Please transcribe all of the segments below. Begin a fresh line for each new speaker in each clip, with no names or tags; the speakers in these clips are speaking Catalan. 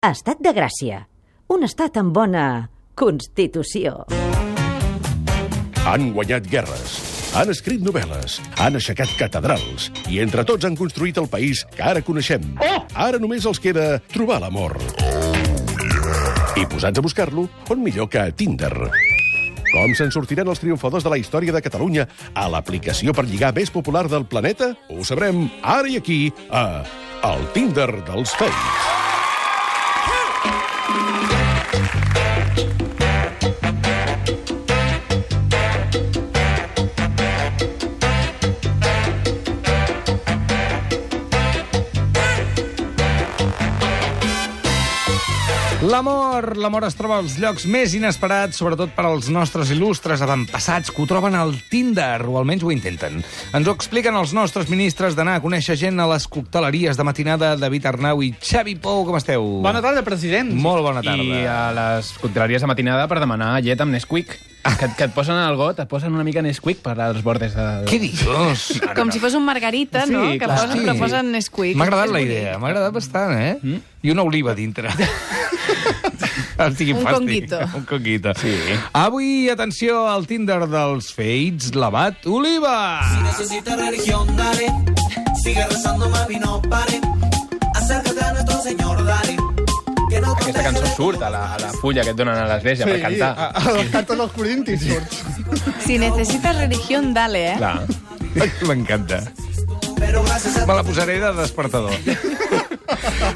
Estat de Gràcia. Un estat amb bona Constitució.
Han guanyat guerres, han escrit novel·les, han aixecat catedrals i entre tots han construït el país que ara coneixem. Ara només els queda trobar l'amor. I posats a buscar-lo, on millor que a Tinder. Com se'n sortiran els triomfadors de la història de Catalunya a l'aplicació per lligar més popular del planeta? Ho sabrem ara i aquí, a El Tinder dels Fakes.
L'amor, l'amor es troba als llocs més inesperats, sobretot per als nostres il·lustres avantpassats que ho troben al Tinder, o almenys ho intenten. Ens ho expliquen els nostres ministres d'anar a conèixer gent a les cocteleries de matinada, David Arnau i Xavi Pou, com esteu?
Bona tarda, president.
Molt bona tarda.
I a les cocteleries de matinada per demanar llet amb Nesquik.
Ah.
Que, que et posen al got, et posen una mica Nesquik per als bordes de...
Què dius?
Com si fos un margarita,
Sí,
no? Que
clar,
posen,
sí.
que posen Nesquik.
M'ha agradat
És
la
bonic.
idea, m'ha agradat bastant, eh? Mm? I una oliva dintre. Estic
Un
fàstic.
conguito.
Un conguito. Sí. Avui, atenció, al Tinder dels Fates, l'abat Oliva!
Si necesitas religión, dale. Sigue rezando, mami, no pare. Acércate a nuestro Señor, dale. Que no
Aquesta cançó surt a la, a la fulla que et donen a l'església sí, ah. per cantar.
A, a los cantos de los Corintis surt.
Si necessites religió, dale, eh?
Clar.
M'encanta.
Pero gracias a
Me la posaré de despertador.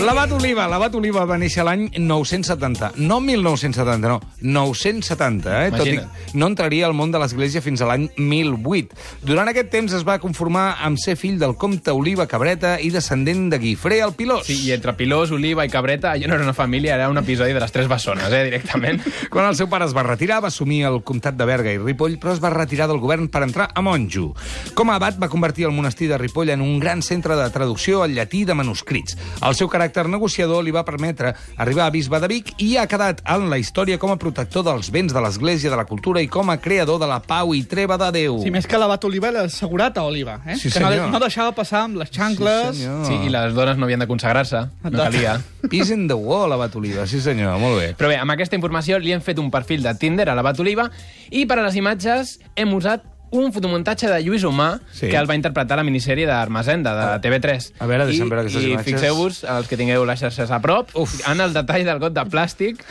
L'abat Oliva, l'abat Oliva va néixer l'any 970. No 1970, no, 970, eh? Tot i
Imagina't.
que no entraria al món de l'Església fins a l'any 1008. Durant aquest temps es va conformar amb ser fill del comte Oliva Cabreta i descendent de Guifré el Pilós.
Sí, I entre Pilós, Oliva i Cabreta, allò no era una família, era un episodi de les tres bessones, eh, directament.
Quan el seu pare es va retirar, va assumir el comtat de Berga i Ripoll, però es va retirar del govern per entrar a monjo. Com a abat, va convertir el monestir de Ripoll en un gran centre de traducció al llatí de manuscrits. El seu caràcter negociador li va permetre arribar a bisbe de Vic i ha quedat en la història com a protector dels béns de l'Església, de la cultura i com a creador de la pau i treva de Déu.
Sí, més que l'abat Oliva era assegurat a Oliva, eh?
Sí,
que no,
senyor.
no deixava passar amb les xancles.
Sí, senyor.
Sí, I les dones no havien de consagrar-se, no calia.
Peace in the wall, abat Oliva. Sí, senyor, molt bé.
Però bé, amb aquesta informació li hem fet un perfil de Tinder a l'abat Oliva i per a les imatges hem usat un fotomuntatge de Lluís Humà
Sí. Ah.
sí. que el va interpretar a la minissèrie d'Armesenda, de TV3.
A veure, deixa'm
I-
veure aquestes imatges.
I fixeu-vos, els que tingueu les xarxes a prop, Uf. en el detall del got de plàstic,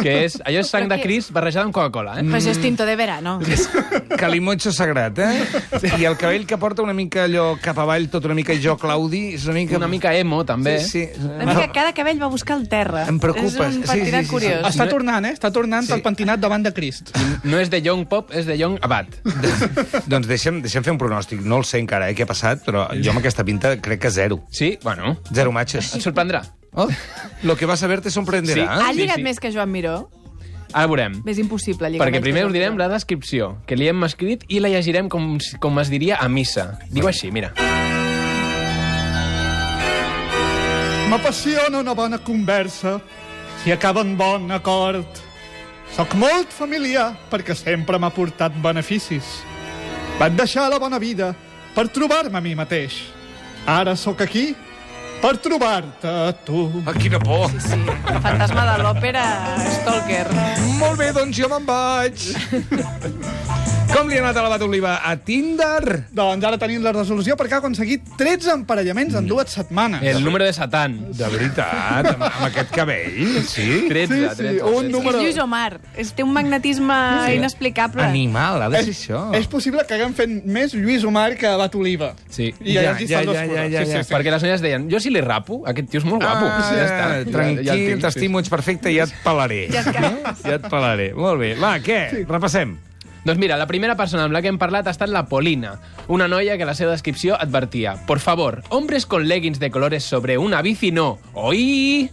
que és... Allò és sang de Cris barrejada amb Coca-Cola, eh?
Però això és tinto de verano.
Calimocho sagrat, eh? I el cabell que porta una mica allò cap avall, tot una mica jo, Claudi, és una mica...
Una mica emo, també.
Sí, sí.
Una mica cada cabell va buscar el terra.
Em preocupes.
És un
Sí, sí,
pentinat
sí, sí.
curiós.
Està tornant, eh? Està tornant sí. el pentinat davant de Crist.
eh? No és de Young Pop, és de Young Abat.
doncs deixa'm, deixa'm fer un pronòstic. No el sé encara, eh, què ha passat, però jo amb aquesta pinta crec que zero.
Sí, bueno,
Zero matxes.
et sorprendrà.
Oh, lo que vas a ver te sorprenderá.
Ha lligat
Sí, sí.
més que Joan Miró?
Ara veurem.
És impossible lligar
Perquè
més
primer
que
us
Joan
direm
Miró.
la descripció, que li hem escrit i la llegirem com, si- com es diria a missa. Diu així, mira.
M'apassiona una bona conversa si acaba en bon acord. Soc molt familiar perquè sempre m'ha portat beneficis. Vaig deixar la bona vida per trobar-me a mi mateix. Ara sóc aquí per trobar-te a tu.
Ah, quina por.
Sí, el fantasma de l'òpera Stalker.
Molt bé, doncs jo me'n vaig. Com li ha anat a la Oliva? A Tinder?
Doncs ara tenim la resolució perquè ha aconseguit 13 emparellaments
Mm.
en dues setmanes.
El número de Satan.
De veritat, amb, amb aquest cabell, sí?
13,
sí,
13. 13.
un número-
És Lluís Omar. És, té un magnetisme inexplicable.
Animal, ha de ser
És,
això.
és possible que haguem fet més Lluís Omar que Abat Oliva.
Sí.
I ja, ja, ja, ja, ja, ja,
ja.
sí, sí.
Perquè les noies deien, jo si li rapo, aquest tio és molt guapo.
Ah,
ja està. Ja-
Tranquil,
ja el tinc, sí.
t'estimo, ets perfecte, ja et pelaré.
Ja et cagues.
No? ja et pelaré. Molt bé. Va, què? Sí. Repassem.
Doncs mira, la primera persona amb la que hem parlat ha estat la Polina, una noia que a la seva descripció advertia «Por favor, hombres con leggings de colores sobre una bici no. Oi!»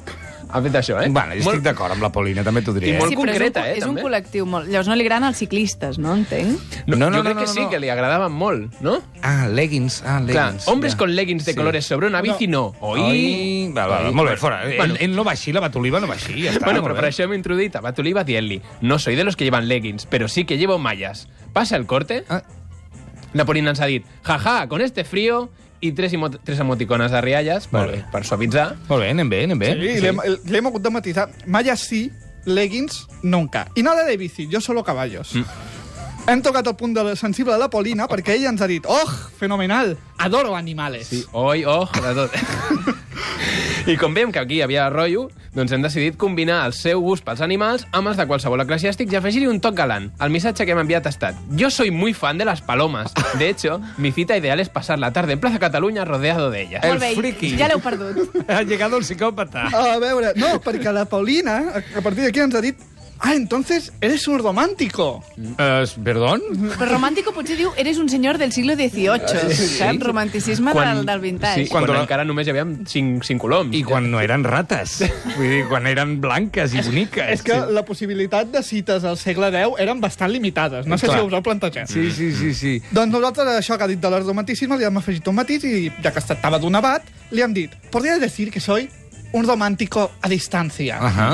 Ha fet això, eh?
Bueno, jo estic
Molt-
d'acord amb la Paulina, també t'ho diré.
I
eh?
molt
sí, però
concreta,
és un,
eh,
És un
també.
col·lectiu molt... Llavors no li agraden els ciclistes, no? Entenc.
No, no,
jo
no,
crec
no,
que
no,
sí,
no.
que li agradaven molt, no?
Ah, leggings. Ah,
Clar,
leggings.
hombres
ja.
con leggings de colores sobre una bici no. Oi!
Oi. Va, va, va, molt bé, fora.
Bueno.
Bueno. Ell, ell no va així, la Batoliva no va així, ja està.
Bueno,
molt
pero para
bé.
eso me introduït a Batoliva dient-li «No soy de los que llevan leggings, pero sí que llevo mallas. Pasa el corte».
Ah.
Napolina ens ha dit «Jaja, con este frío i tres, emo tres emoticones de rialles per,
Molt bé.
per suavitzar.
Molt bé, anem bé, anem bé.
Eh? Sí, l'hem- l'hem hagut de matisar. Malla sí, leggings, nunca. I nada de bici, yo solo caballos. Hem tocat el punt de la- sensible de la Polina perquè ella ens ha dit «Oh, fenomenal! Adoro animales!»
Sí, oi, oh, de tot. I com veiem que aquí hi havia rotllo, doncs hem decidit combinar el seu gust pels animals amb els de qualsevol eclesiàstic i afegir-hi un toc galant. El missatge que hem enviat ha estat «Yo soy muy fan de las palomas. De hecho, mi cita ideal es pasar la tarde en Plaza Cataluña rodeado de ellas».
El
Molt bé,
friki.
ja l'heu perdut.
Ha llegat el psicòpata.
A veure, no, perquè la Paulina, a- a partir d'aquí ens ha dit «Ah, entonces eres un romántico!»
Uh, perdón?
Però romàntico potser diu eres un senyor del siglo XVIII, saps? Romanticisme del, del vintage.
Sí, quan,
Quan la-
encara només hi havia cinc, cinc coloms.
I quan no eren rates. Vull dir, quan eren blanques i boniques.
És que la possibilitat de cites al segle X eren bastant limitades. No sé
Clar.
si us ho plantegem.
Sí, sí, sí, sí.
Doncs nosaltres, això que ha dit de l'arromanticisme, li hem afegit un matís i, ja que es tractava d'un abat, li hem dit «Podria decir que soy un romántico a distància».
Ahà.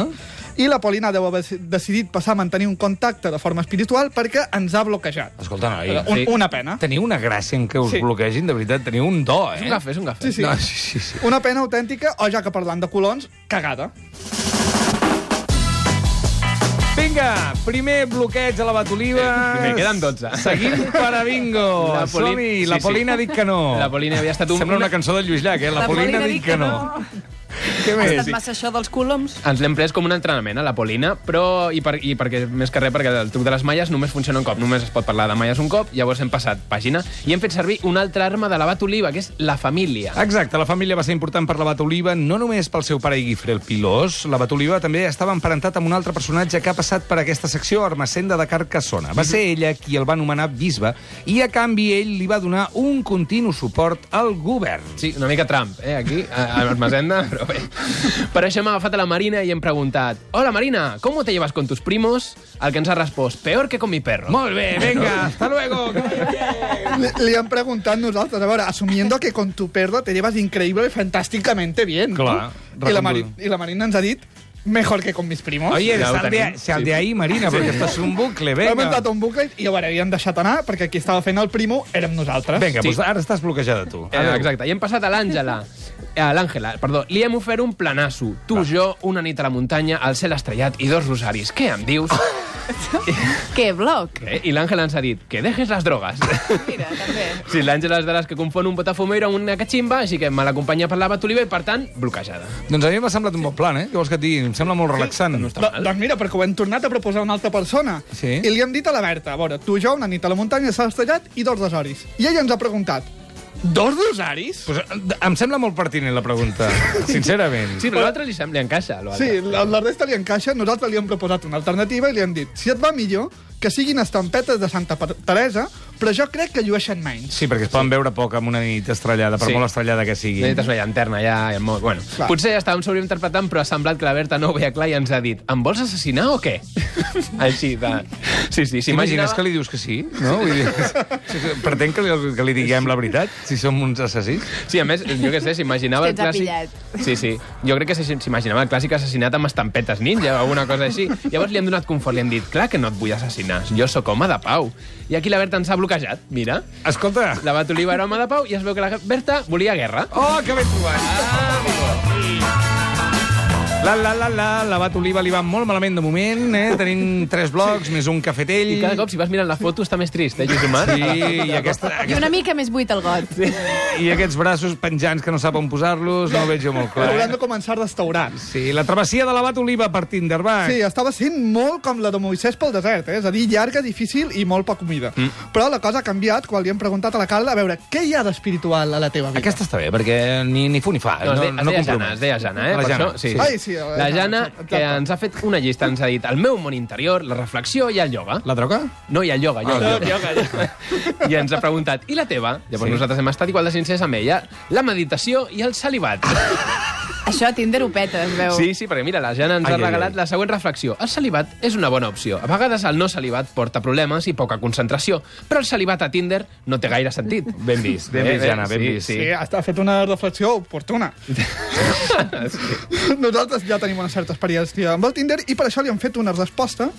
I la Paulina deu haver decidit passar a mantenir un contacte de forma espiritual perquè ens ha bloquejat.
Escolta, noi,
Un,
sí.
Una pena.
teniu una gràcia en què us
Sí.
bloquegin, de veritat, teniu un do,
És
eh?
un cafè, és un cafè.
Sí, sí.
No, sí, sí, sí.
Una pena autèntica, o ja que parlant de colons, cagada.
Vinga, primer bloqueig a la Batoliva.
Eh, primer, queden 12.
Seguim per a bingo.
La
La
Poli-
Som-hi,
sí,
la
sí.
Polina ha dit que no.
La Polina havia estat un-
Sembla una
una-
cançó de Lluís Llach, eh? La, Polina, ha dit que no. Què
Ha
més?
estat massa això dels coloms.
Ens l'hem pres com un entrenament, a la Polina, però i, per, i perquè, més que res, perquè el truc de les malles només funciona un cop, només es pot parlar de malles un cop, llavors hem passat pàgina i hem fet servir una altra arma de la Batoliva, que és la família.
Exacte, la família va ser important per la Batoliva, no només pel seu pare i Guifre, el Pilós. La Batoliva també estava emparentat amb un altre personatge que ha passat per aquesta secció, Armacenda de Carcassona. Va ser ella qui el va nomenar bisbe i, a canvi, ell li va donar un continu suport al govern.
Sí, una mica Trump, eh, aquí, a, a Masenda, però bé. Per això hem agafat a la Marina i hem preguntat «Hola, Marina, ¿cómo te llevas con tus primos?» Al que ens ha respost «Peor que con mi perro».
Molt bé, vinga, hasta luego. que vagi bien.
Li, li hem preguntat nosaltres, a veure, asumiendo que con tu perda te llevas increíble y fantásticamente bien.
Clar,
I la, Mari,
reconduït.
I la Marina ens ha dit mejor que con mis primos.
Oye,
Ja ho
sal de,
tenim.
sal de ahí, Marina, perquè estàs un bucle,
Hem
vinga.
entrat a un bucle i a veure, havíem deixat anar perquè qui estava fent el primo érem nosaltres.
Vinga,
Sí.
doncs ara estàs bloquejada tu.
Eh, exacte, i hem passat a l'Àngela. Eh, A l'Àngela, perdó. Li hem ofert un planasso. Tu, jo, una nit a la muntanya, el cel estrellat i dos rosaris. Què em dius?
Què, bloc?
Eh? I l'Àngela ens ha dit que dejes les drogues.
Mira, també.
Sí, l'Àngela és de les que confon un botafumeiro amb una catximba, així que me l'acompanya per la batoliva i, per tant, bloquejada.
Doncs a mi m'ha semblat un bon plan, eh? Què vols que et digui? Em sembla molt relaxant.
Do, doncs mira, perquè ho hem tornat a proposar a una altra persona.
Sí.
I li hem dit a la Berta, a veure, tu i jo una nit a la muntanya s'ha estrellat i dos rosaris. I ella ens ha preguntat, dos rosaris?
Pues, eh, em sembla molt pertinent la pregunta, sincerament.
Sí, però a l'altre li sembla encaixa. lo altre.
Sí, la, la resta li encaixa, nosaltres li hem proposat una alternativa i li hem dit, si et va millor, que siguin estampetes de Santa Per- Teresa, però jo crec que llueixen menys.
Sí, perquè es poden veure poc amb una nit estrellada, per
Sí.
molt estrellada que sigui.
Necessites una llanterna ja... i el món. Bueno,
Clar.
potser ja estàvem sobreinterpretant, però ha semblat que la Berta no ho veia clar i ens ha dit em vols assassinar o què? Així de... Sí,
T'imagines
sí, s'imaginava...
que li dius que sí, no? Vull dir, sí, sí, pretén que li, que li diguem la veritat, si som uns assassins.
Sí, a més, jo què sé, s'imaginava el
Hòstia, ens ha
clàssic... Sí, sí. Jo crec que s'hi- s'imaginava el clàssic assassinat amb estampetes ninja o alguna cosa així. Llavors li hem donat confort, li hem dit, clar que no et vull assassinar, jo sóc home de pau. I aquí la Berta ens ha bloquejat, mira.
Escolta...
La Batoliva era home de pau i es veu que la Berta volia guerra.
Oh, que ben trobat! La, la, la, la, la Batoliva li va molt malament de moment, eh? Tenim tres blocs, més un cafetell...
I cada cop, si vas mirant la foto, està més trist, eh, Lluís Omar?
Sí, i, aquesta,
I una mica més buit el got. Sí.
i aquests braços penjants que no sap on posar-los, no ho veig jo molt clar. eh?
Hauran de començar restaurants.
Sí, la travessia de la Batoliva per Tinderbach.
Sí, estava sent molt com la de Moisès pel desert, eh? és a dir, llarga, difícil i molt poc humida. Mm. Però la cosa ha canviat quan li hem preguntat a la Calda a veure què hi ha d'espiritual a la teva vida.
Aquesta està bé, perquè ni, ni fu ni fa.
No, es, de, es deia
compromet.
Jana, es deia Jana, eh?
La
per
Jana,
això, sí.
sí. Ai, sí, la
la
Jana,
Jana,
exacte.
que ens ha fet una llista, ens ha dit el meu món interior, la reflexió i el ioga.
La droga?
No, i el ioga, ioga.
Ah, el
ioga, ioga. I ens ha preguntat, i la teva? Llavors
Sí.
sí. nosaltres hem estat igual de sincers amb ella. La meditació i el salivat.
Això a Tinder ho peta, es veu.
Sí, sí, perquè mira, la Jana ens
Ai, ai,
ai, ha regalat
ai.
la següent reflexió. El salivat és una bona opció. A vegades el no salivat porta problemes i poca concentració, però el salivat a Tinder no té gaire sentit.
Ben vist, ben vist, Jana, ben
sí,
vist.
Sí, ha fet una reflexió oportuna. Nosaltres ja tenim una certa experiència amb el Tinder i per això li hem fet una resposta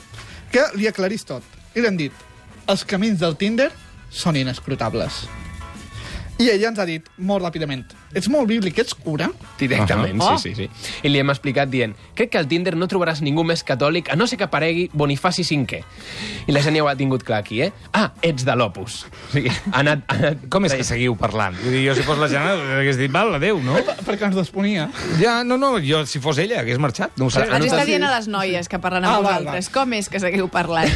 que li aclarís tot. I li hem dit, els camins del Tinder són inescrutables. I ella ens ha dit, molt ràpidament, ets molt bíblic, ets cura?
Directament,
Ahà.
sí, sí, sí. I li hem explicat dient, crec que al Tinder no trobaràs ningú més catòlic a no ser que aparegui Bonifaci V. I la Gènia ho ha tingut clar aquí, eh? Ah, ets de l'Opus. O sigui, ha anat, ha anat...
Com és que seguiu parlant? Vull dir, jo si fos la Jana hagués dit, val, adeu, no?
Per- Perquè ens desponia.
Ja, no, no, jo si fos ella hagués marxat, no ho sé.
Ah,
Ens
no
està
t'has
dient
dit.
a les noies que parlen
Ah,
amb
val,
vosaltres. Com és que seguiu parlant?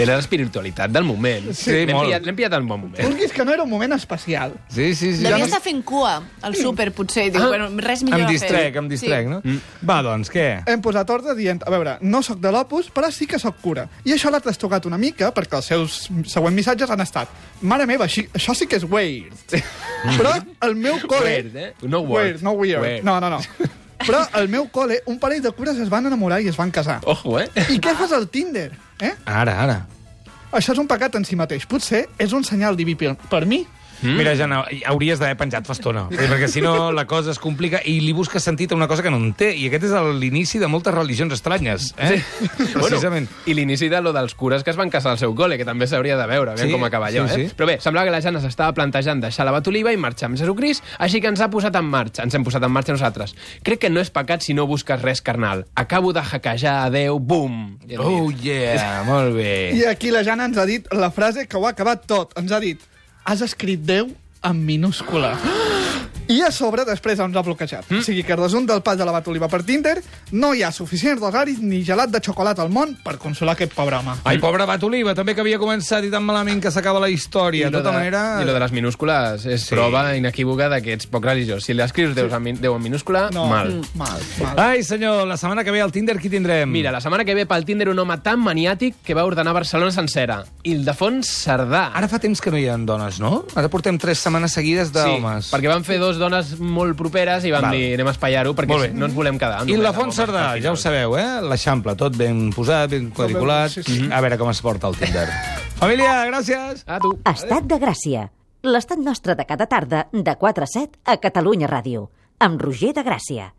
Era l'espiritualitat del moment.
Sí,
l'hem
molt.
pillat, l'hem pillat en bon moment.
Vulguis que no era un moment especial.
Sí, sí, sí.
Devia estar fent cua al súper, potser. i Diu,
Ah,
bueno, res millor
Em
a fer.
distrec, em distrec, no? Va, doncs, què?
Hem posat ordre dient, a veure, no sóc de l'Opus, però sí que sóc cura. I això l'ha trastocat una mica, perquè els seus següents missatges han estat Mare meva, així, això sí que és weird. Però el meu col·le...
Weird, eh? No
Weird,
word.
no weird.
Weird.
No, no, no. Però al meu col·le, un parell de cures es van enamorar i es van casar.
Ojo, eh?
I què fas al Tinder? Eh?
Ara, ara.
Això és un pecat en si mateix. Potser és un senyal diví per per mi.
Mm? Mira, Jana, hauries d'haver penjat fa estona, eh, perquè si no la cosa es complica i li busca sentit a una cosa que no en té, i aquest és el- l'inici de moltes religions estranyes, eh? Sí. Precisament.
Bueno, I l'inici de lo dels cures que es van casar al seu col·le, que també s'hauria de veure, aviam
Sí,
sí, com acaba allò,
sí,
sí, eh?
sí.
Sí. Però bé, semblava que la Jana s'estava plantejant deixar la batoliva i marxar amb Jesucrist, així que ens ha posat en marxa, ens hem posat en marxa nosaltres. Crec que no és pecat si no busques res carnal. Acabo de hackejar a Déu, bum! I hem
Oh,
dit,
yeah, molt bé.
I aquí la Jana ens ha dit la frase que ho ha acabat tot. Ens ha dit, has escrit Déu en minúscula. I a sobre després ens ha bloquejat. Mm. O sigui que resum del pas de la batoliva per Tinder, no hi ha suficients rosaris ni gelat de xocolata al món per consolar aquest pobre home.
Ai, pobra Batoliva, també que havia començat i tan malament que s'acaba la història. De
lo
tota
de-
manera...
I lo de les minúscules és
Sí.
sí. prova inequívoca de que ets poc religiós. Si l'escrius Déu, en min- Déu en minúscula, no. mal.
Mm, Mal, mal.
Ai, senyor, la setmana que ve al Tinder qui tindrem?
Mira, la setmana que ve pel Tinder un home tan maniàtic que va ordenar Barcelona sencera. Ildefons Cerdà.
Ara fa temps que no hi ha dones, no? Ara portem tres setmanes seguides d'homes.
perquè van fer dos dones molt properes i van
Val.
dir anem a espaiar-ho perquè
Molt bé.
si no ens volem quedar.
I
només
la
amb
Font
homes,
Cerdà,
al final.
ja ho sabeu, eh? L'Eixample, tot ben posat, ben quadriculat.
Sí, sí.
Mhm. A veure com es porta el Tinder. Família, gràcies!
A Ah, tu.
Estat de Gràcia. L'estat nostre de cada tarda, de 4 a 7, a Catalunya Ràdio. Amb Roger de Gràcia.